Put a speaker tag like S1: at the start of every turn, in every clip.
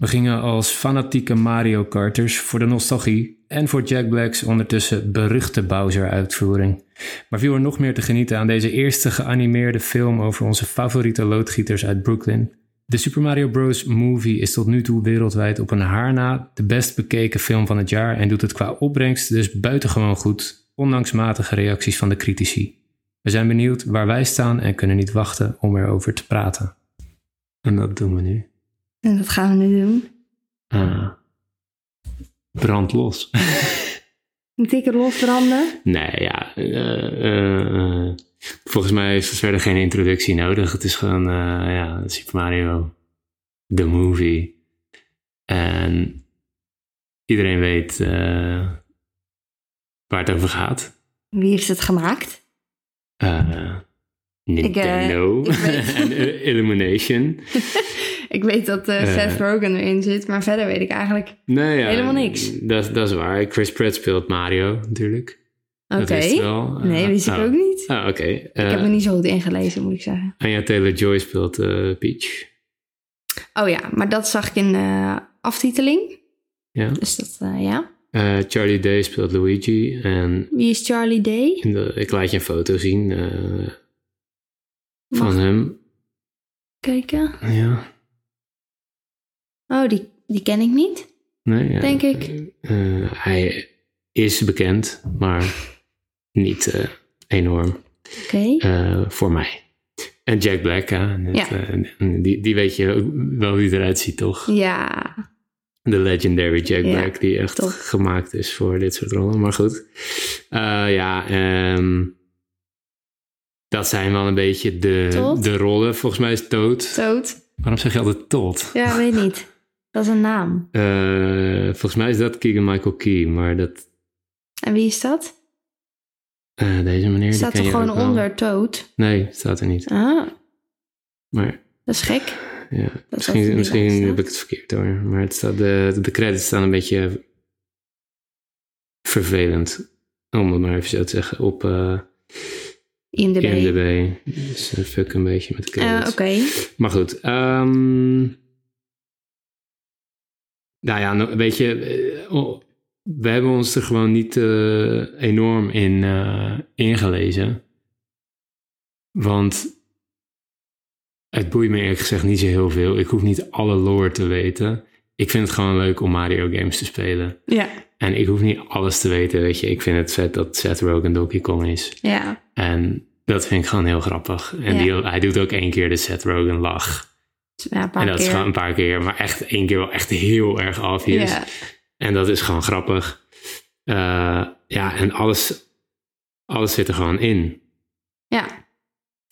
S1: We gingen als fanatieke Mario Karters voor de nostalgie en voor Jack Black's ondertussen beruchte Bowser-uitvoering. Maar viel er nog meer te genieten aan deze eerste geanimeerde film over onze favoriete loodgieters uit Brooklyn. De Super Mario Bros. Movie is tot nu toe wereldwijd op een haar na de best bekeken film van het jaar en doet het qua opbrengst dus buitengewoon goed, ondanks matige reacties van de critici. We zijn benieuwd waar wij staan en kunnen niet wachten om erover te praten. En dat doen we nu.
S2: En dat gaan we nu doen.
S1: Ah. Brand los.
S2: Een dikke losbranden.
S1: nee, ja. eh, eh, eh. volgens mij is er verder geen introductie nodig. Het is gewoon eh, ja, Super Mario, de movie. En iedereen weet eh, waar het over gaat.
S2: Wie heeft het gemaakt?
S1: Eh, Nintendo
S2: ik weet-
S1: en eh, Illumination.
S2: Ik weet dat eh,
S1: Eh.
S2: Seth Rogen erin zit, maar verder weet ik eigenlijk...
S1: Nee, ja,
S2: Helemaal niks.
S1: Dat, dat is waar. Chris Pratt speelt Mario natuurlijk.
S2: Oké.
S1: Dat wist je wel.
S2: Nee,
S1: Eh,
S2: wist ik
S1: oh.
S2: ook niet.
S1: Ah, oké.
S2: Ik heb
S1: Eh,
S2: me niet zo goed ingelezen, moet ik zeggen.
S1: Anya Taylor-Joy speelt eh, Peach.
S2: Oh ja, maar dat zag ik in eh aftiteling.
S1: Ja.
S2: Dus dat, eh, ja.
S1: Eh, Charlie Day speelt Luigi. En
S2: Wie is Charlie Day?
S1: in de- ik laat je een foto zien eh, van
S2: Mag
S1: hem.
S2: kijken.
S1: Ja,
S2: Oh, die, die ken ik niet.
S1: nee, ja.
S2: Denk ik.
S1: Eh, hij is bekend, maar niet eh, enorm
S2: Oké.
S1: eh, voor mij. En Jack Black, ja, net,
S2: Ja.
S1: eh, die, die weet je ook wel hoe hij eruit ziet, toch?
S2: Ja.
S1: De legendary Jack
S2: Ja,
S1: Black, die echt
S2: toch.
S1: gemaakt is voor dit soort rollen. Maar goed, Eh, ja, ehm, dat zijn wel een beetje de,
S2: Todd?
S1: de rollen. Volgens mij is Toad.
S2: Toad?
S1: Waarom zeg je altijd Todd?
S2: Ja, weet niet. Dat is een naam.
S1: Eh, volgens mij is dat Keegan Michael Key, maar dat,
S2: En wie is dat?
S1: eh, deze meneer. die
S2: Staat
S1: ken
S2: er
S1: je
S2: gewoon
S1: ook wel.
S2: onder Toad?
S1: Nee, staat er niet.
S2: Ah,
S1: Maar
S2: dat is gek.
S1: ja,
S2: Dat dat er
S1: misschien,
S2: niet bij
S1: misschien
S2: staat.
S1: heb ik het verkeerd hoor. Maar het staat de, de credits staan een beetje vervelend. Om het maar even zo te zeggen. Op. eh,
S2: IMDb.
S1: IMDb. Dus eh, fuck een beetje met
S2: Eh,
S1: credits.
S2: Oké.
S1: Maar goed. ehm, nou ja, nou, weet je... eh, oh, we hebben ons er gewoon niet eh, enorm in eh, ingelezen. Want het boeit me eerlijk gezegd niet zo heel veel. Ik hoef niet alle lore te weten. Ik vind het gewoon leuk om Mario games te spelen.
S2: Ja.
S1: En ik hoef niet alles te weten, weet je. Ik vind het vet dat Seth Rogen Donkey Kong is.
S2: Ja.
S1: En dat vind ik gewoon heel grappig. En
S2: Ja.
S1: die, hij doet ook één keer de Seth Rogen lach.
S2: ja een paar
S1: En dat
S2: keer.
S1: is gewoon een paar keer, maar echt één keer wel echt heel erg obvious.
S2: Ja.
S1: En dat is gewoon grappig. Eh, ja, en alles, alles zit er gewoon in.
S2: ja.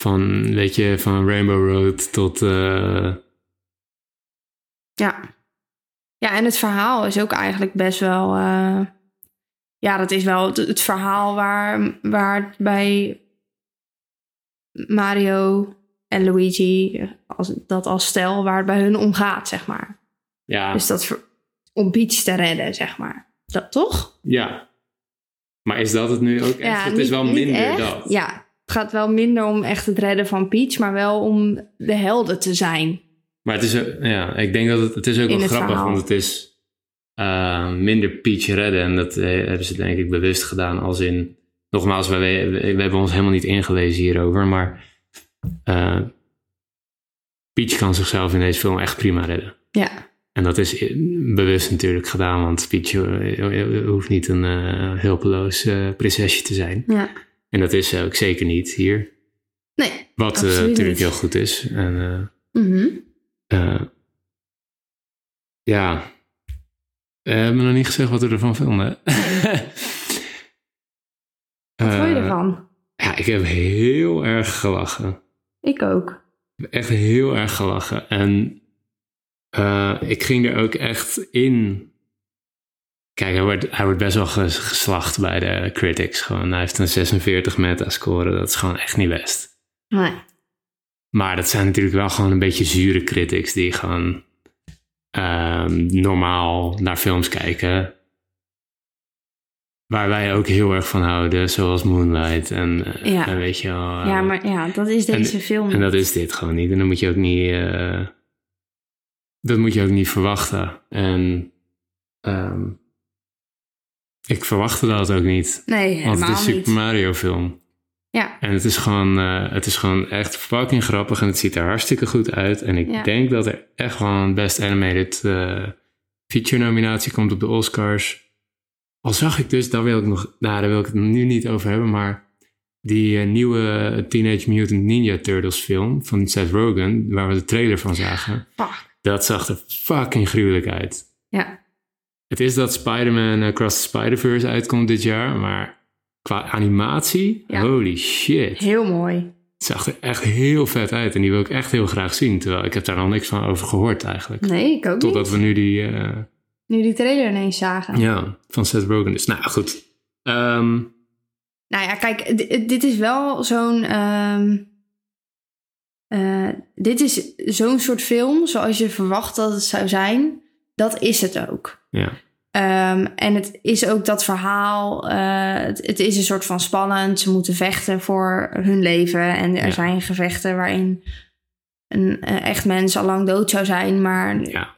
S1: Van, weet je, van Rainbow Road tot... eh,
S2: Ja. Ja, en het verhaal is ook eigenlijk best wel. eh, ja, dat is wel het, het verhaal waar, waar het bij Mario en Luigi, als, dat als stel, waar het bij hun om gaat, zeg maar.
S1: ja,
S2: Dus dat ver- om Peach te redden, zeg maar. Dat toch?
S1: ja. Maar is dat het nu ook echt?
S2: ja,
S1: dus het
S2: niet-
S1: is wel
S2: niet
S1: minder
S2: echt.
S1: dat.
S2: Ja, het gaat wel minder om echt het redden van Peach, maar wel om de helden te zijn.
S1: Maar het is, ook- ja, ik denk dat het, het is ook
S2: In
S1: wel
S2: het
S1: grappig,
S2: verhaal.
S1: want het is eh, minder Peach redden. En dat eh, hebben ze denk ik bewust gedaan als in... Nogmaals, we, we hebben ons helemaal niet ingelezen hierover, maar... eh, Peach kan zichzelf in deze film echt prima redden.
S2: Ja,
S1: En dat is i- bewust natuurlijk gedaan, want Peach eh, hoeft niet een eh, hulpeloos eh, prinsesje te zijn.
S2: ja.
S1: En dat is ze ook zeker niet hier.
S2: Nee.
S1: Wat eh,
S2: Absoluut niet.
S1: natuurlijk heel goed is. En, eh,
S2: Mhm.
S1: eh, ja. We hebben nog niet gezegd wat we ervan vonden.
S2: Wat vond je
S1: Eh,
S2: ervan?
S1: Ja, ik heb heel erg gelachen.
S2: Ik ook.
S1: Echt heel erg gelachen. En eh, ik ging er ook echt in. Kijk, hij wordt, hij wordt best wel ges- geslacht bij de critics. Gewoon. Hij heeft een 46 metascore. Dat is gewoon echt niet best.
S2: Nee.
S1: Maar dat zijn natuurlijk wel gewoon een beetje zure critics die gewoon ehm, normaal naar films kijken. Waar wij ook heel erg van houden, zoals Moonlight en, eh,
S2: Ja.
S1: en weet je wel. eh,
S2: Ja, maar ja, dat is deze film.
S1: En dat is dit gewoon niet. En dan moet je ook niet eh, dat moet je ook niet verwachten. En ehm, ik verwachtte dat ook niet.
S2: Nee,
S1: Want het
S2: helemaal
S1: is een Super
S2: niet.
S1: Mario film.
S2: Ja.
S1: En het is, gewoon, eh, het is gewoon echt fucking grappig en het ziet er hartstikke goed uit. En ik
S2: Ja.
S1: denk dat er echt gewoon een Best Animated eh, Feature nominatie komt op de Oscars. Al zag ik dus, daar wil ik, nog, nou, daar wil ik het nu niet over hebben, maar die eh, nieuwe Teenage Mutant Ninja Turtles film van Seth Rogen, waar we de trailer van zagen,
S2: Fuck.
S1: dat zag er fucking gruwelijk uit.
S2: Ja. Het
S1: Het is dat Spider-Man Across the Spider-Verse uitkomt dit jaar, maar qua animatie,
S2: Ja.
S1: holy shit.
S2: Heel mooi.
S1: Het zag er echt heel vet uit en die wil ik echt heel graag zien. Terwijl ik heb daar nog niks van over gehoord eigenlijk.
S2: Nee, ik ook
S1: Totdat
S2: niet.
S1: we nu die, eh,
S2: Nu die trailer ineens zagen.
S1: ja, van Seth Rogen is. Nou goed, Ehm,
S2: Nou ja, kijk, d- dit is wel zo'n. ehm, eh, dit is zo'n soort film zoals je verwacht dat het zou zijn. Dat is het ook.
S1: ja.
S2: Ehm, en het is ook dat verhaal. eh, het, het is een soort van spannend. Ze moeten vechten voor hun leven. En er
S1: Ja.
S2: zijn gevechten waarin een eh, echt mens al lang dood zou zijn, maar
S1: Ja.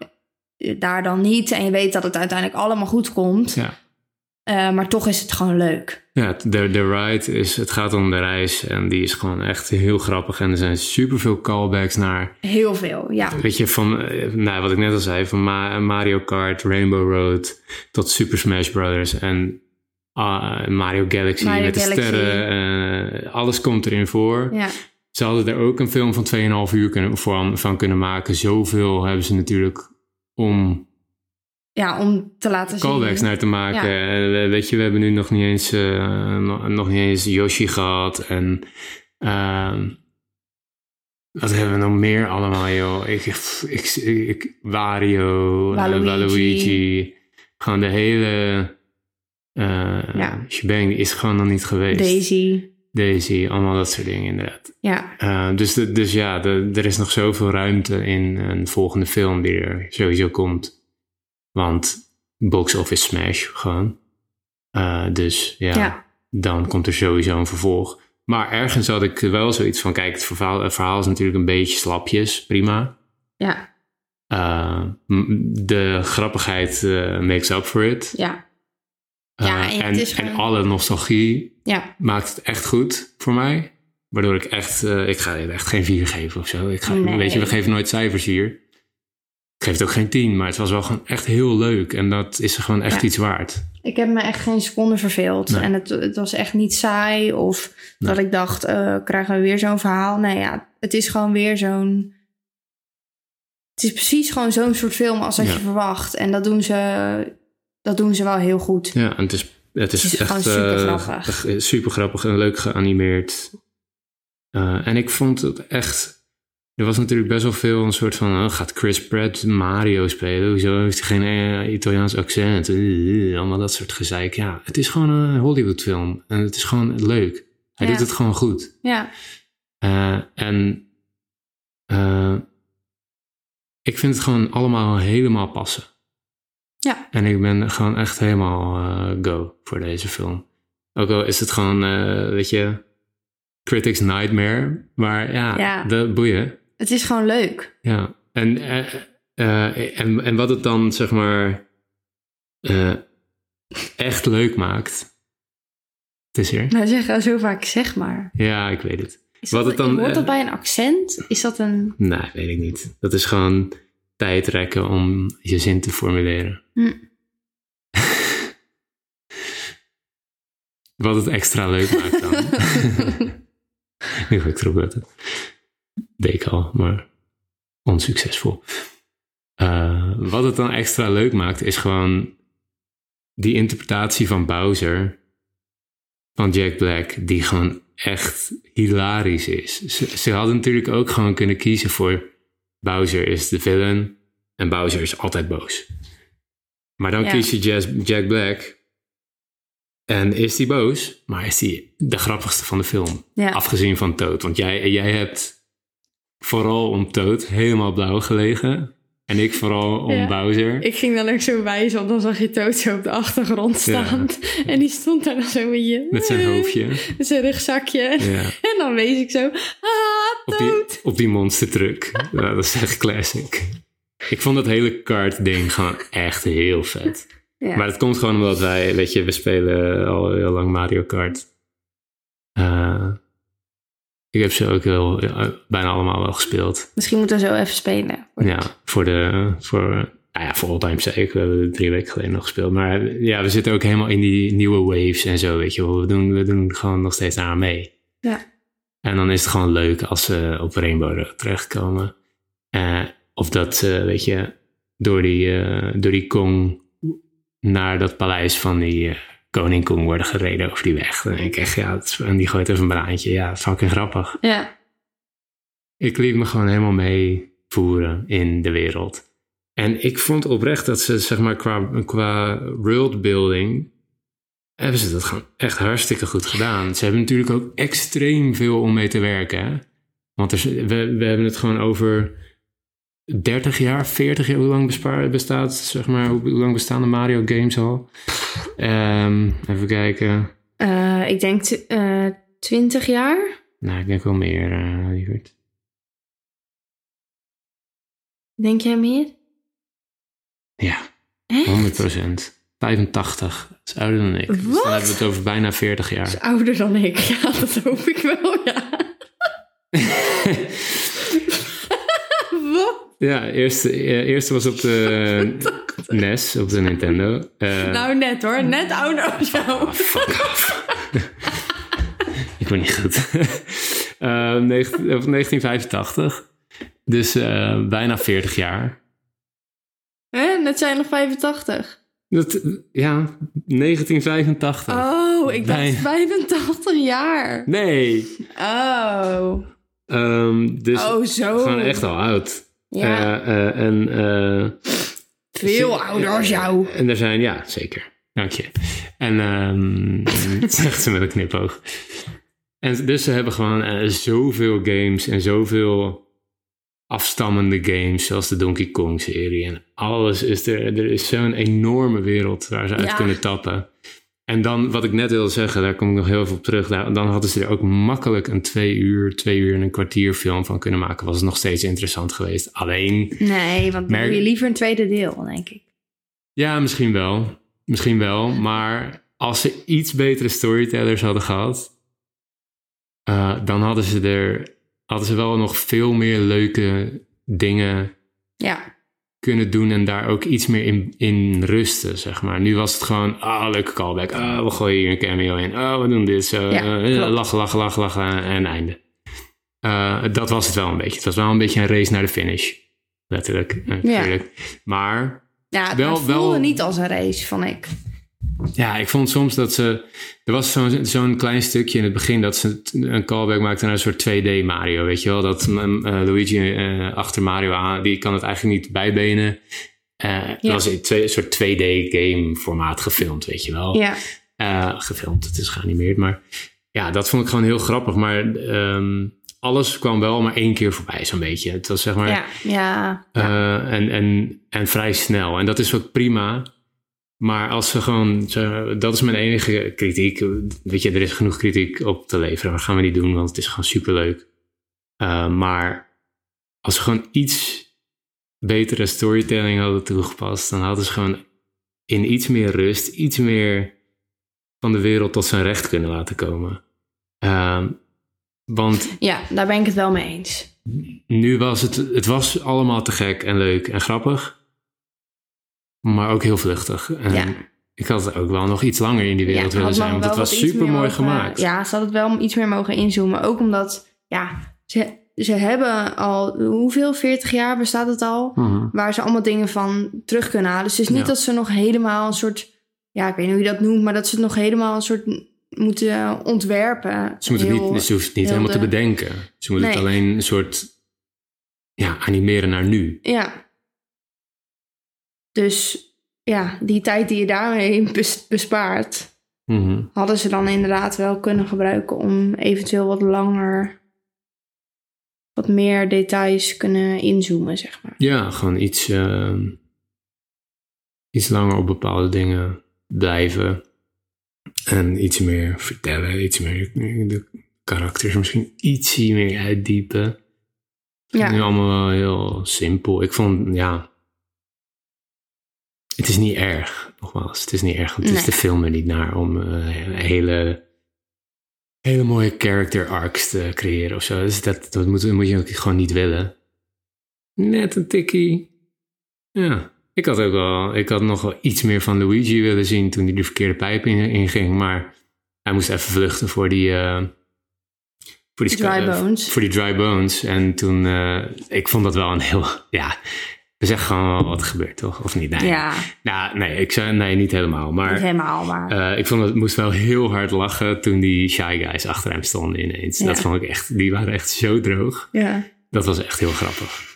S2: daar dan niet. En je weet dat het uiteindelijk allemaal goed komt.
S1: Ja.
S2: Eh, maar toch is het gewoon leuk.
S1: Ja, de, de ride is, het gaat om de reis en die is gewoon echt heel grappig. En er zijn superveel callbacks naar
S2: Heel veel, ja.
S1: Weet je, van eh, nou, wat ik net al zei, van Ma- Mario Kart, Rainbow Road tot Super Smash Brothers en ah, Mario Galaxy
S2: Mario
S1: met
S2: Galaxy.
S1: de sterren. eh, alles komt erin voor.
S2: ja.
S1: Ze hadden er ook een film van 2,5 uur kunnen, van, van kunnen maken. Zoveel hebben ze natuurlijk om
S2: Ja, om te laten
S1: callbacks
S2: zien.
S1: naar te maken. Eh, we- weet je, we hebben nu nog niet eens, eh, nog, nog niet eens Yoshi gehad. En ehm, wat hebben we nog meer allemaal, joh? Ik, pff, ik, ik, ik- Wario, eh,
S2: Waluigi.
S1: Waluigi. Gewoon de hele... eh
S2: Ja.
S1: shebang is gewoon nog niet geweest.
S2: Daisy.
S1: Daisy, allemaal dat soort dingen inderdaad.
S2: Ja,
S1: Eh, dus, de- dus ja, de- er is nog zoveel ruimte in een volgende film die er sowieso komt. Want box office smash gewoon. Eh, dus ja,
S2: Ja.
S1: dan komt er sowieso een vervolg. Maar ergens had ik wel zoiets van, kijk, het verhaal, het verhaal is natuurlijk een beetje slapjes, prima.
S2: ja,
S1: Eh, m- de grappigheid eh, makes up for it.
S2: ja, Ja,
S1: Eh,
S2: en het
S1: en,
S2: is gewoon-
S1: en alle nostalgie
S2: ja.
S1: maakt het echt goed voor mij. Waardoor ik echt, eh, ik ga er echt geen 4 geven of zo. Ik ga,
S2: Nee.
S1: Weet je, we geven nooit cijfers hier. Ik geef het ook geen 10, maar het was wel gewoon echt heel leuk. En dat is er gewoon echt
S2: Ja.
S1: iets waard.
S2: Ik heb me echt geen seconde verveeld.
S1: Nee.
S2: En het, het was echt niet saai. Of
S1: Nee.
S2: dat ik dacht, eh, krijgen we weer zo'n verhaal? Nee, ja, het is gewoon weer zo'n... Het is precies gewoon zo'n soort film als dat
S1: Ja.
S2: je verwacht. En dat doen ze, dat doen ze wel heel goed.
S1: Ja, en het is, het is,
S2: Het is
S1: echt
S2: gewoon supergrappig.
S1: eh, echt super grappig en leuk geanimeerd. Eh, en ik vond het echt. Er was natuurlijk best wel veel een soort van. oh, gaat Chris Pratt Mario spelen? Hoezo heeft hij geen eh, Italiaans accent? Eh, allemaal dat soort gezeik. Ja, het is gewoon een Hollywoodfilm. En het is gewoon leuk. Hij
S2: Ja.
S1: doet het gewoon goed.
S2: Ja,
S1: Eh, en eh, ik vind het gewoon allemaal helemaal passen.
S2: Ja.
S1: En ik ben gewoon echt helemaal eh, go voor deze film. Ook al is het gewoon, eh, weet je, Critics Nightmare. Maar ja,
S2: Ja.
S1: de boeien.
S2: het is gewoon leuk.
S1: Ja, en, eh, eh, en, en wat het dan zeg maar eh, echt leuk maakt. Het is hier.
S2: Nou zeg zo vaak, zeg maar.
S1: Ja, ik weet het.
S2: Is
S1: Wat
S2: dat-
S1: het dan,
S2: hoort dat
S1: eh,
S2: bij een accent? Is dat een...
S1: Nee, weet ik niet. Dat is gewoon tijd rekken om je zin te formuleren.
S2: Hm.
S1: Wat het extra leuk maakt dan. nu ga ik erop letten. Deed ik al, maar onsuccesvol. Eh, wat het dan extra leuk maakt, is gewoon die interpretatie van Bowser, van Jack Black, die gewoon echt hilarisch is. Ze, ze hadden natuurlijk ook gewoon kunnen kiezen voor Bowser is de villain en Bowser is altijd boos. Maar dan
S2: Ja.
S1: kies je Jazz- Jack Black en is die boos, maar is die de grappigste van de film.
S2: Ja.
S1: Afgezien van Toad, want jij, jij hebt vooral om Toad helemaal blauw gelegen en ik vooral om
S2: Ja.
S1: Bowser.
S2: Ik ging dan ook zo wijzen, want dan zag je Toto op de achtergrond staan. En die stond daar dan zo een beetje...
S1: Met zijn hoofdje.
S2: Met zijn rugzakje.
S1: Ja.
S2: En dan wees ik zo... Ah,
S1: Op die,
S2: Toot.
S1: op die monster truck. ja, dat is echt classic. Ik vond dat hele kart ding gewoon echt heel vet.
S2: Ja.
S1: Maar dat komt gewoon omdat wij, weet je, we spelen al heel lang Mario Kart. Eh, ik heb ze ook heel, ja, bijna allemaal wel gespeeld.
S2: Misschien moeten we zo even spelen.
S1: Ja, voor de, voor, nou ja, voor Oldtime Sake. We hebben het drie weken geleden nog gespeeld. Maar ja, we zitten ook helemaal in die nieuwe waves en zo, weet je wel. We doen, we doen gewoon nog steeds aan mee.
S2: Ja.
S1: En dan is het gewoon leuk als ze op Rainbow Road terechtkomen. Eh, of dat ze, weet je, door die, eh, door die Kong naar dat paleis van die eh, koning Kong worden gereden over die weg. Dan denk ik echt, ja, dat is- en die gooit even een braantje. Ja, fucking grappig.
S2: Ja.
S1: Ik liet me gewoon helemaal meevoeren in de wereld. En ik vond oprecht dat ze, zeg maar, qua, qua worldbuilding. hebben ze dat gewoon echt hartstikke goed gedaan. Ze hebben natuurlijk ook extreem veel om mee te werken. Hè? Want er, is- we, we hebben het gewoon over 30 jaar, 40 jaar. Hoe lang bespaar- bestaat, zeg maar, hoe, hoe lang bestaan de Mario games al? Ehm, even kijken.
S2: Eh, ik denk tw- eh, 20 jaar.
S1: Nou, ik denk wel meer, eh lieverd.
S2: Denk jij meer?
S1: Ja.
S2: Echt?
S1: 100 85. Dat is ouder dan ik. Dus
S2: Wat?
S1: dan hebben we het over bijna 40
S2: Dat is
S1: jaar.
S2: ouder dan ik. Ja, dat hoop ik wel, ja. Wat?
S1: ja, eerste, eh, eerste was op de NES, op de Nintendo. Eh,
S2: Nou, net hoor. Net ouder als jou.
S1: ik word niet goed. Eh, negen- of 1985. Dus eh, bijna 40 jaar.
S2: Hè? Net zijn nog 85.
S1: Dat, ja, 1985.
S2: Oh, ik dacht
S1: Bijna.
S2: 85 jaar.
S1: Nee.
S2: Oh.
S1: Ehm, dus
S2: Oh, zo.
S1: gewoon echt al oud.
S2: Ja,
S1: Eh, dus eh, en... eh,
S2: veel
S1: Ze-
S2: ouder als jou.
S1: En er zijn, ja, zeker. Dank je. En ehm, zegt ze met een knipoog. En dus ze hebben gewoon eh, zoveel games en zoveel afstammende games, zoals de Donkey Kong serie. En alles is er, er is zo'n enorme wereld waar ze uit
S2: Ja.
S1: kunnen tappen. En dan, wat ik net wilde zeggen, daar kom ik nog heel veel op terug. Daar, dan hadden ze er ook makkelijk een twee uur, twee uur en een kwartier film van kunnen maken. Was het nog steeds interessant geweest. Alleen,
S2: Nee, want dan
S1: Merk-
S2: doe je liever een tweede deel, denk ik.
S1: Ja, misschien wel. Misschien wel. Maar als ze iets betere storytellers hadden gehad, eh, dan hadden ze er hadden ze wel nog veel meer leuke dingen
S2: Ja.
S1: kunnen doen en daar ook iets meer in, in rusten, zeg maar. Nu was het gewoon, ah, leuke callback. Ah, we gooien hier een cameo in. Ah, we doen dit zo.
S2: Ja,
S1: Eh,
S2: klopt.
S1: lachen, lachen, lachen, lachen eh, en einde. Eh, dat was het wel een beetje. Het was wel een beetje een race naar de finish. Letterlijk, natuurlijk. Maar
S2: Ja,
S1: Wel-
S2: wel, het voelde
S1: wel-
S2: niet als een race, vond ik.
S1: Ja, ik vond soms dat ze. Er was zo'n zo'n klein stukje in het begin dat ze t- een callback maakte naar een soort 2D Mario. Weet je wel, dat mm, eh, Luigi eh, achter Mario aan, die kan het eigenlijk niet bijbenen. Eh dat
S2: Ja.
S1: was een twee- een soort 2D game formaat gefilmd, weet je wel.
S2: Ja.
S1: Eh, gefilmd, het is geanimeerd. Maar ja, dat vond ik gewoon heel grappig. Maar ehm, alles kwam wel maar één keer voorbij, zo'n beetje. Het was zeg maar.
S2: Ja. Ja.
S1: Eh, en, en, en vrij snel. En dat is ook prima. Maar als ze gewoon, zo- dat is mijn enige kritiek. Weet je, er is genoeg kritiek op te leveren. Dat gaan we niet doen, want het is gewoon superleuk. Eh, maar als ze gewoon iets betere storytelling hadden toegepast, dan hadden ze gewoon in iets meer rust, iets meer van de wereld tot zijn recht kunnen laten komen. Ehm, want
S2: ja, daar ben ik het wel mee eens.
S1: nu was het, het was allemaal te gek en leuk en grappig, maar ook heel vluchtig. En
S2: Ja.
S1: Ik had het ook wel nog iets langer in die wereld
S2: ja,
S1: willen
S2: had
S1: zijn,
S2: wel
S1: want het
S2: wat
S1: was
S2: iets
S1: super
S2: meer
S1: mooi
S2: mogen-
S1: gemaakt.
S2: Ja, ze hadden het wel iets meer mogen inzoomen. Ook omdat, ja, ze, ze hebben al, hoeveel, 40 jaar bestaat het al?
S1: Mhm.
S2: Waar ze allemaal dingen van terug kunnen halen. Dus het is niet
S1: Ja.
S2: dat ze nog helemaal een soort, ja, ik weet niet hoe je dat noemt, maar dat ze het nog helemaal een soort moeten ontwerpen.
S1: Ze, moeten
S2: Heel-
S1: niet, ze hoeft het niet
S2: heel
S1: helemaal te
S2: de-
S1: bedenken. Ze moeten het
S2: Nee.
S1: alleen een soort ja, animeren naar nu.
S2: Ja. Dus ja, die tijd die je daarmee bes- bespaart,
S1: Mhm.
S2: hadden ze dan inderdaad wel kunnen gebruiken om eventueel wat langer, wat meer details kunnen inzoomen, zeg maar.
S1: Ja, gewoon iets, ehm, iets langer op bepaalde dingen blijven. En iets meer vertellen, iets meer de karakters misschien ietsie meer uitdiepen.
S2: Ja,
S1: Nu allemaal wel heel simpel. Ik vond, ja, Het is niet erg, nogmaals. Het is niet erg, want het is
S2: Nee.
S1: de film er niet naar om eh, hele, hele mooie character arcs te creëren of zo. Dus dat, dat, moet, dat moet je ook gewoon niet willen. Net een tikkie. Ja, ik had ook wel, ik had nog wel iets meer van Luigi willen zien toen hij de verkeerde pijp in, inging, maar hij moest even vluchten voor die... eh voor die
S2: Dry
S1: sca-
S2: bones.
S1: Voor die dry bones. En toen, eh, ik vond dat wel een heel, ja, we zeggen gewoon wel wat er gebeurt, toch? Of niet? Nee.
S2: Ja,
S1: Nou, nee, ik zei, nee, niet helemaal. Maar
S2: niet helemaal, maar...
S1: eh, ik vond het moest wel heel hard lachen toen die Shy Guys achter hem stonden ineens.
S2: Ja.
S1: Dat vond ik echt, die waren echt zo droog.
S2: ja.
S1: Dat was echt heel grappig.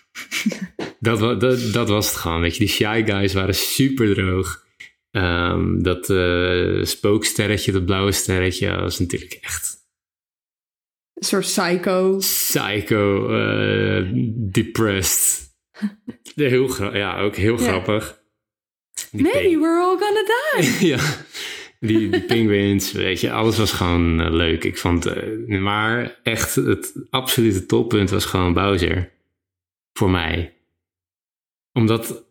S1: dat, wa- dat, dat was het gewoon, weet je. Die Shy Guys waren super droog. Ehm, dat eh, spooksterretje, dat blauwe sterretje, was natuurlijk echt
S2: Een soort psycho.
S1: psycho, eh, depressed. Heel gra- ja, ook heel
S2: Ja.
S1: grappig. Die
S2: Maybe
S1: ping-
S2: we're all gonna die.
S1: ja, die, die penguins, weet je, alles was gewoon eh, leuk. Ik vond, eh, maar echt het absolute toppunt was gewoon Bowser. Voor mij. Omdat,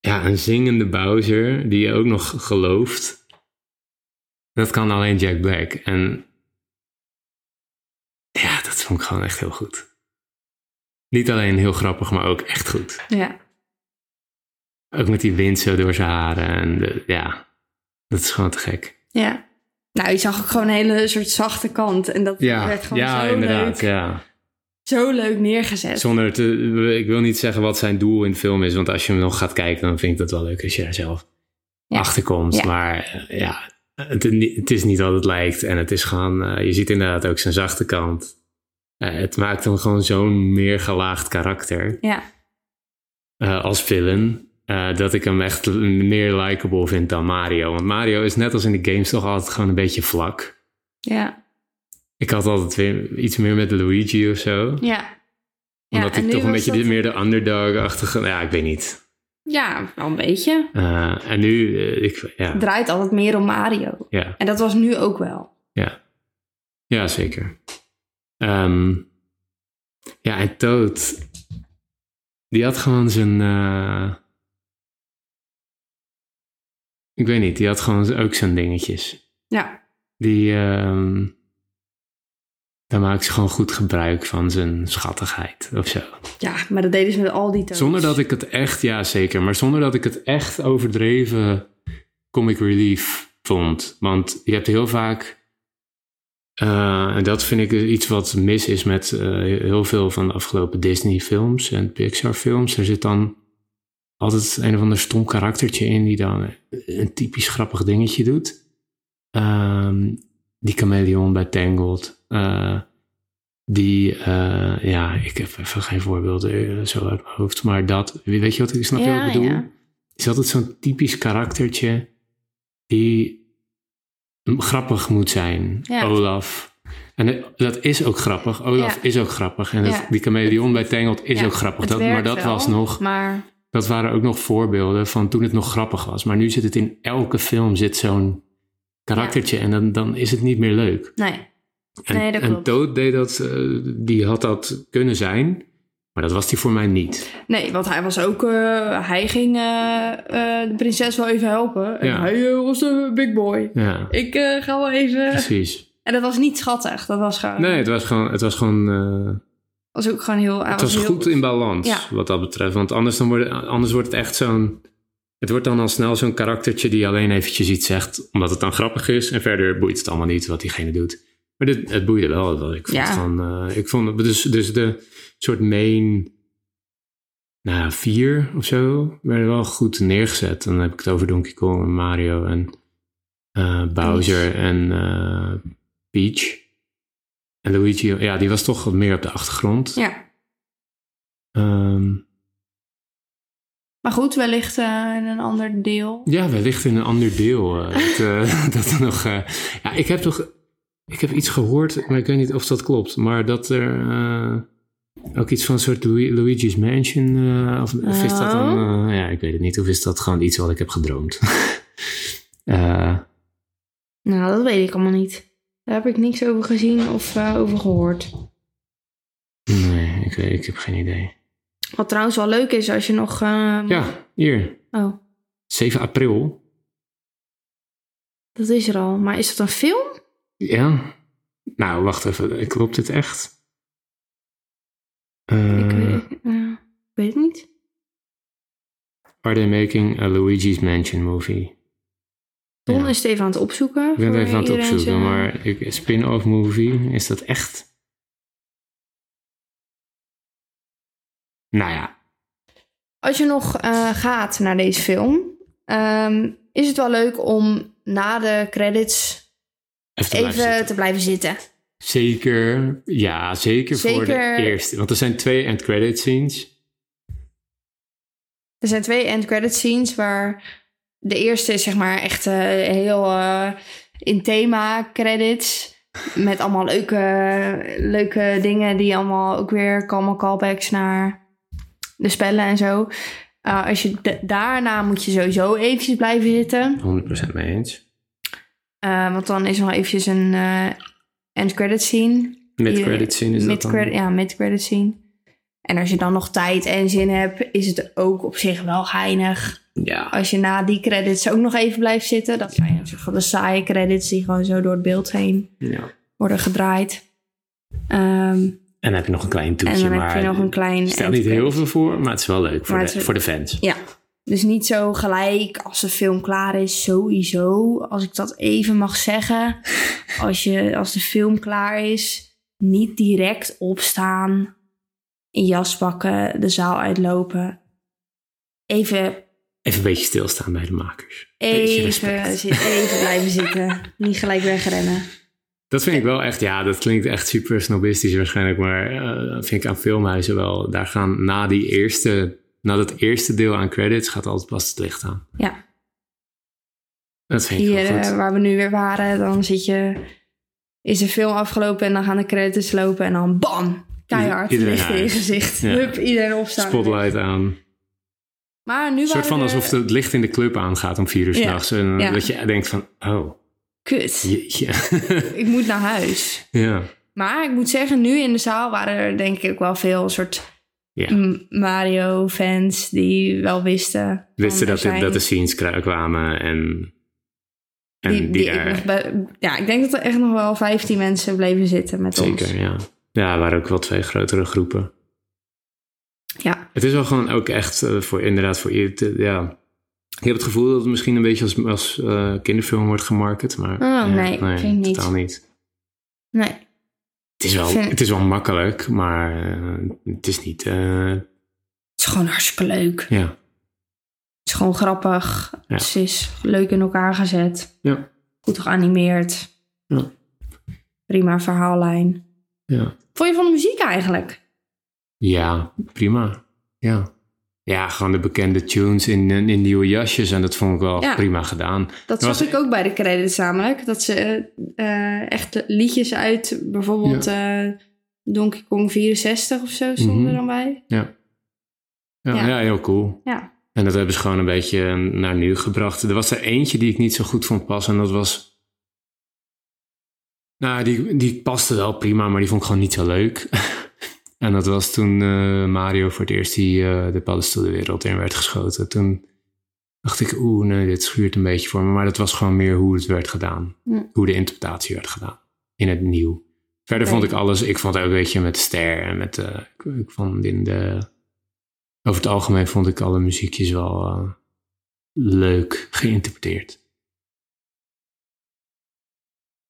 S1: ja, een zingende Bowser die je ook nog gelooft, dat kan alleen Jack Black. En ja, dat vond ik gewoon echt heel goed. Niet alleen heel grappig, maar ook echt goed.
S2: Ja.
S1: Ook met die wind zo door zijn haren. En de- ja, dat is gewoon te gek.
S2: Ja. Nou, je zag ook gewoon een hele soort zachte kant. En dat werd gewoon
S1: ja
S2: zo,
S1: inderdaad.
S2: leuk,
S1: Ja.
S2: zo leuk neergezet.
S1: Zonder te, ik wil niet zeggen wat zijn doel in de film is. Want als je hem nog gaat kijken, dan vind ik dat wel leuk als je daar zelf
S2: Ja.
S1: achter komt.
S2: Ja.
S1: Maar eh, ja, het, het is niet wat het lijkt. En het is gewoon, eh, je ziet inderdaad ook zijn zachte kant. Eh, het maakt hem gewoon zo'n meer gelaagd karakter.
S2: Ja.
S1: eh, als villain. eh, dat ik hem echt meer likable vind dan Mario. Want Mario is net als in de games toch altijd gewoon een beetje vlak.
S2: Ja.
S1: Ik had altijd weer iets meer met Luigi of zo.
S2: Ja.
S1: Omdat
S2: en
S1: ik
S2: nu
S1: toch een
S2: was
S1: beetje
S2: dat-
S1: dit meer de underdog-achtige... nou Ja, ik weet niet.
S2: Ja, wel een beetje.
S1: Eh, en nu, eh, ik, ja,
S2: Het draait altijd meer om Mario.
S1: ja,
S2: En dat was nu ook wel.
S1: ja. Ja, zeker. Ehm, ja, en Toad... Die had gewoon zijn... eh, ik weet niet, die had gewoon ook zijn dingetjes.
S2: Ja.
S1: Die... ehm daar maakt ze gewoon goed gebruik van zijn schattigheid of zo.
S2: Ja, maar dat deden ze met al die toons.
S1: Zonder dat ik het echt, ja zeker, maar zonder dat ik het echt overdreven comic relief vond. Want je hebt heel vaak, eh, en dat vind ik iets wat mis is met eh, heel veel van de afgelopen Disney films en Pixar films. Er zit dan altijd een of ander stom karaktertje in die dan een typisch grappig dingetje doet. Ehm, die chameleon bij Tangled. eh, die, eh, ja, ik heb even geen voorbeelden eh, zo uit mijn hoofd. Maar dat, weet je wat ik snap je wat
S2: Ja,
S1: ik bedoel?
S2: ja.
S1: Is altijd zo'n typisch karaktertje die grappig moet zijn.
S2: Ja.
S1: Olaf. En eh, dat is ook grappig. Olaf
S2: Ja.
S1: is ook grappig. En dat-
S2: Ja.
S1: die chameleon bij Tangled is
S2: Ja,
S1: ook grappig.
S2: het
S1: Dat, maar
S2: werkt
S1: dat
S2: wel,
S1: was nog
S2: Maar
S1: dat waren ook nog voorbeelden van toen het nog grappig was. Maar nu zit het in elke film zit zo'n karaktertje en dan, dan is het niet meer leuk.
S2: nee.
S1: En,
S2: Nee, dat
S1: en
S2: klopt.
S1: Toad deed dat, eh, die had dat kunnen zijn, maar dat was die voor mij niet.
S2: Nee, want hij was ook... eh, hij ging eh, eh, de prinses wel even helpen. En
S1: Ja.
S2: hij eh, was de big boy.
S1: Ja,
S2: Ik eh, ga wel even...
S1: precies.
S2: En dat was niet schattig. Dat was gewoon...
S1: Nee, het was gewoon, het was gewoon, eh,
S2: was ook gewoon heel... hij
S1: het was
S2: heel-
S1: goed in balans
S2: Ja.
S1: wat dat betreft. Want anders, dan wordt, anders wordt het echt zo'n, het wordt dan al snel zo'n karaktertje die alleen eventjes iets zegt, omdat het dan grappig is. En verder boeit het allemaal niet wat diegene doet. Maar dit, het boeide wel. wel. Ik vond,
S2: Ja.
S1: het gewoon, eh, ik vond het- dus, dus de soort main nou, ja, vier of zo werden wel goed neergezet. Dan heb ik het over Donkey Kong en Mario en eh, Bowser en eh, Peach. En Luigi, ja, die was toch wat meer op de achtergrond.
S2: Ja.
S1: Ehm,
S2: Maar goed, wellicht eh, in een ander deel.
S1: ja, wellicht in een ander deel. eh, dat, eh, dat er nog. eh, ja, ik heb toch. Ik heb iets gehoord, maar ik weet niet of dat klopt. Maar dat er eh, ook iets van een soort Lu- Luigi's Mansion. eh, of, of is dat dan.
S2: Oh.
S1: eh, ja, ik weet het niet. Of is dat gewoon iets wat ik heb gedroomd? Eh,
S2: Nou, dat weet ik allemaal niet. Daar heb ik niks over gezien of eh, over gehoord.
S1: nee, ik, weet- ik heb geen idee.
S2: Wat trouwens wel leuk is als je nog... ehm,
S1: Ja, hier.
S2: Oh,
S1: 7 april.
S2: Dat is er al. Maar is dat een film?
S1: Ja. Nou, wacht even. Klopt dit echt? Eh,
S2: Ik, weet- eh, ik weet het niet.
S1: are they making a eh, Luigi's Mansion movie?
S2: Don
S1: Ja.
S2: is het even aan het opzoeken.
S1: Ik ben het
S2: voor
S1: even aan het
S2: iedereen
S1: opzoeken,
S2: zijn-
S1: maar ik, spin-off movie, is dat echt? Nou ja,
S2: Als je nog eh, gaat naar deze film, ehm, is het wel leuk om na de credits
S1: even te
S2: even
S1: blijven zitten.
S2: te blijven zitten.
S1: Zeker, ja, zeker, voor de
S2: Zeker.
S1: eerste. Want er zijn twee end credit scenes.
S2: Er zijn twee end credit scenes waar de eerste is zeg maar echt eh, heel eh, in thema credits. Met allemaal leuke, leuke dingen die allemaal ook weer allemaal callbacks naar de spellen en zo. Eh, als je da- daarna moet je sowieso eventjes blijven zitten.
S1: 100% mee eens.
S2: Eh, want dan is er nog eventjes een eh, end credit scene.
S1: Mid-credit scene is dat
S2: Mid-credit-
S1: dan?
S2: Ja, mid-credit scene. En als je dan nog tijd en zin hebt, is het ook op zich wel geinig.
S1: Ja,
S2: Als je na die credits ook nog even blijft zitten. Dat zijn zeg maar de saaie credits die gewoon zo door het beeld heen
S1: ja.
S2: worden gedraaid. Ehm,
S1: En dan heb je nog een klein
S2: en
S1: toetje,
S2: dan heb
S1: maar
S2: je nog een klein...
S1: stel
S2: end
S1: niet heel
S2: credit.
S1: veel voor, maar het is wel leuk voor,
S2: Maar
S1: de,
S2: het is-
S1: voor de fans.
S2: Ja, dus niet zo gelijk als de film klaar is, sowieso. Als ik dat even mag zeggen. Als, je, als de film klaar is, niet direct opstaan, in jas pakken, de zaal uitlopen. Even,
S1: Even een beetje stilstaan bij de makers. Beetje
S2: even,
S1: respect.
S2: zi- even blijven zitten. Niet gelijk wegrennen.
S1: Dat vind ik wel echt, ja, dat klinkt echt super snobistisch waarschijnlijk, maar eh, dat vind ik aan filmhuizen wel. Daar gaan na die eerste, na dat eerste deel aan credits, gaat altijd pas het licht aan.
S2: Ja,
S1: Dat vind ik
S2: hier
S1: wel goed.
S2: eh, waar we nu weer waren, dan zit je, is de film afgelopen en dan gaan de credits lopen en dan bam! Keihard,
S1: Iedereen
S2: licht in je
S1: uit.
S2: gezicht.
S1: Ja.
S2: Hup, iedereen opstaan.
S1: Spotlight aan.
S2: Maar nu
S1: Een soort
S2: waren
S1: van
S2: er-
S1: alsof het licht in de club aangaat om vier uur
S2: eh, Ja,
S1: s'nachts. En
S2: ja.
S1: dat je denkt van, oh,
S2: Kut,
S1: jeetje.
S2: ik moet naar huis.
S1: ja.
S2: Maar ik moet zeggen, nu in de zaal waren er denk ik wel veel soort
S1: Ja.
S2: M- Mario-fans die wel wisten.
S1: Wisten
S2: van,
S1: dat,
S2: er zijn
S1: dat de scenes kru- kwamen en, en
S2: die, die
S1: daar-
S2: ik nog bij- Ja, ik denk dat er echt nog wel 15 mensen bleven zitten met ons.
S1: Zeker, ja. Ja, er waren ook wel twee grotere groepen.
S2: Ja.
S1: Het is wel gewoon ook echt eh, voor, inderdaad, voor je, te- ja. Ik heb het gevoel dat het misschien een beetje als, als eh, kinderfilm wordt gemarket, maar...
S2: Oh, nee, vind ik niet.
S1: totaal niet.
S2: Nee,
S1: Het is wel,
S2: Vind-
S1: het is wel makkelijk, maar eh, het is niet, eh,
S2: het is gewoon hartstikke leuk.
S1: ja.
S2: Het is gewoon grappig.
S1: Ja.
S2: Het is leuk in elkaar gezet.
S1: Ja.
S2: Goed geanimeerd.
S1: Ja.
S2: Prima verhaallijn.
S1: Ja.
S2: Vond je van de muziek eigenlijk?
S1: Ja, prima. Ja. Ja, gewoon de bekende tunes in, in nieuwe jasjes. En dat vond ik wel
S2: Ja.
S1: prima gedaan.
S2: Dat
S1: Er
S2: zag
S1: was-
S2: ik ook bij de credits namelijk. Dat ze eh, eh, echt liedjes uit bijvoorbeeld eh, Donkey Kong 64 of zo stonden
S1: Mhm.
S2: er dan bij.
S1: Ja. Ja, ja.
S2: Ja.
S1: heel cool.
S2: Ja.
S1: En dat hebben ze gewoon een beetje naar nu gebracht. Er was er eentje die ik niet zo goed vond passen. En dat was... Nou, die, die paste wel prima, maar die vond ik gewoon niet zo leuk. en dat was toen eh, Mario voor het eerst die, eh, de paddenstoel de wereld in werd geschoten. Toen dacht ik, oeh, nee, dit schuurt een beetje voor me. Maar dat was gewoon meer hoe het werd gedaan.
S2: Hm.
S1: Hoe de interpretatie werd gedaan. In het nieuw. Verder
S2: Oké.
S1: vond ik alles... Ik vond ook, weet je, met de ster en met... eh, ik, ik vond in de... Over het algemeen vond ik alle muziekjes wel eh, leuk geïnterpreteerd.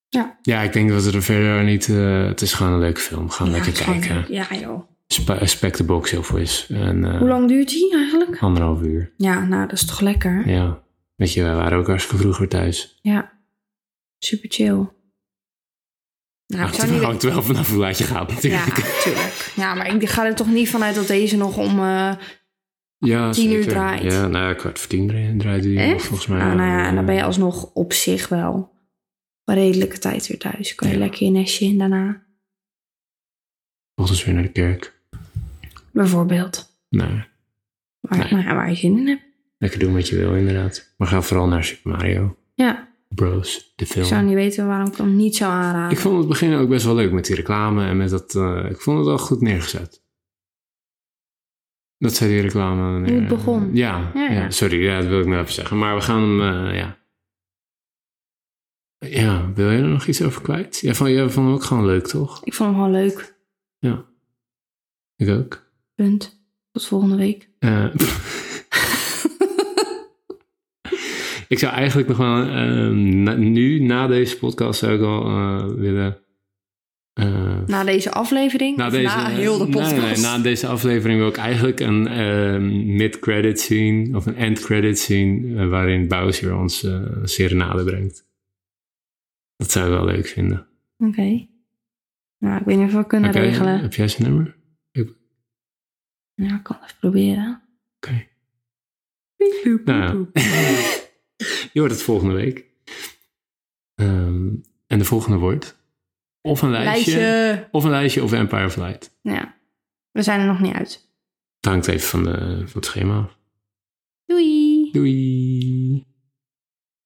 S2: Ja.
S1: Ja, ik denk dat we er verder niet... eh, het is gewoon een leuke film. Gaan
S2: Ja,
S1: Oh, lekker
S2: het is gewoon-
S1: kijken.
S2: Ja joh.
S1: Spe- Spec the Box heel veel is. En, eh,
S2: Hoe lang duurt die eigenlijk?
S1: Anderhalf uur.
S2: Ja, nou dat is toch lekker.
S1: Ja. Weet je, wij waren ook hartstikke vroeger thuis.
S2: Ja. Super chill. Nou, ik
S1: Hangt,
S2: zou niet...
S1: Ah, hangt wel vanaf hoe laat je gaat
S2: Ja,
S1: natuurlijk.
S2: natuurlijk. Ja, maar ik ga er toch niet vanuit dat deze nog om... eh,
S1: Ja,
S2: Tien uur
S1: zeker.
S2: draait.
S1: Ja, nou ja, kwart voor tien dra- draait die
S2: Echt?
S1: volgens mij.
S2: ah, nou ja, en dan ben je alsnog op zich wel een redelijke tijd weer thuis. Kan je
S1: Ja.
S2: lekker je nestje in daarna,
S1: Ochtends weer naar de kerk.
S2: bijvoorbeeld.
S1: Nou,
S2: Waar,
S1: Nee.
S2: nou ja, waar je zin in hebt.
S1: lekker doen wat je wil inderdaad. Maar ga vooral naar Super Mario
S2: Ja,
S1: Bros. De film.
S2: ik zou niet weten waarom ik hem niet zou aanraden.
S1: Ik vond het begin ook best wel leuk met die reclame en met dat. eh, ik vond het wel goed neergezet. Dat zei die reclame. eh,
S2: Hoe het begon.
S1: Ja,
S2: Ja,
S1: ja,
S2: ja.
S1: sorry, ja, dat wil ik nog even zeggen. Maar we gaan hem, eh, ja. Ja, wil je er nog iets over kwijt? Jij vond, jij vond hem ook gewoon leuk, toch?
S2: Ik vond hem gewoon leuk.
S1: Ik ook.
S2: Punt. Tot volgende week.
S1: Eh, ik zou eigenlijk nog wel, eh, na- nu, na deze podcast, zou ik wel eh, willen... eh,
S2: Na deze aflevering?
S1: Na
S2: of
S1: deze, eh,
S2: na heel de
S1: nee, nee,
S2: podcast?
S1: na deze aflevering wil ik eigenlijk een eh, mid-credit scene of een end-credit scene eh, waarin Bowser ons eh, een serenade brengt. Dat zou ik wel leuk vinden.
S2: Oké. Nou, ik weet niet of we het kunnen
S1: Oké,
S2: regelen.
S1: Heb jij zijn nummer?
S2: Ja, ik kan het even proberen.
S1: Oké. Nou. Je hoort het volgende week. Ehm, en de volgende wordt of een lijstje,
S2: Lijstje.
S1: of een lijstje of Empire of Light.
S2: Ja. We zijn er nog niet uit.
S1: Het hangt even van, de, van het schema af.
S2: Doei.
S1: Doei!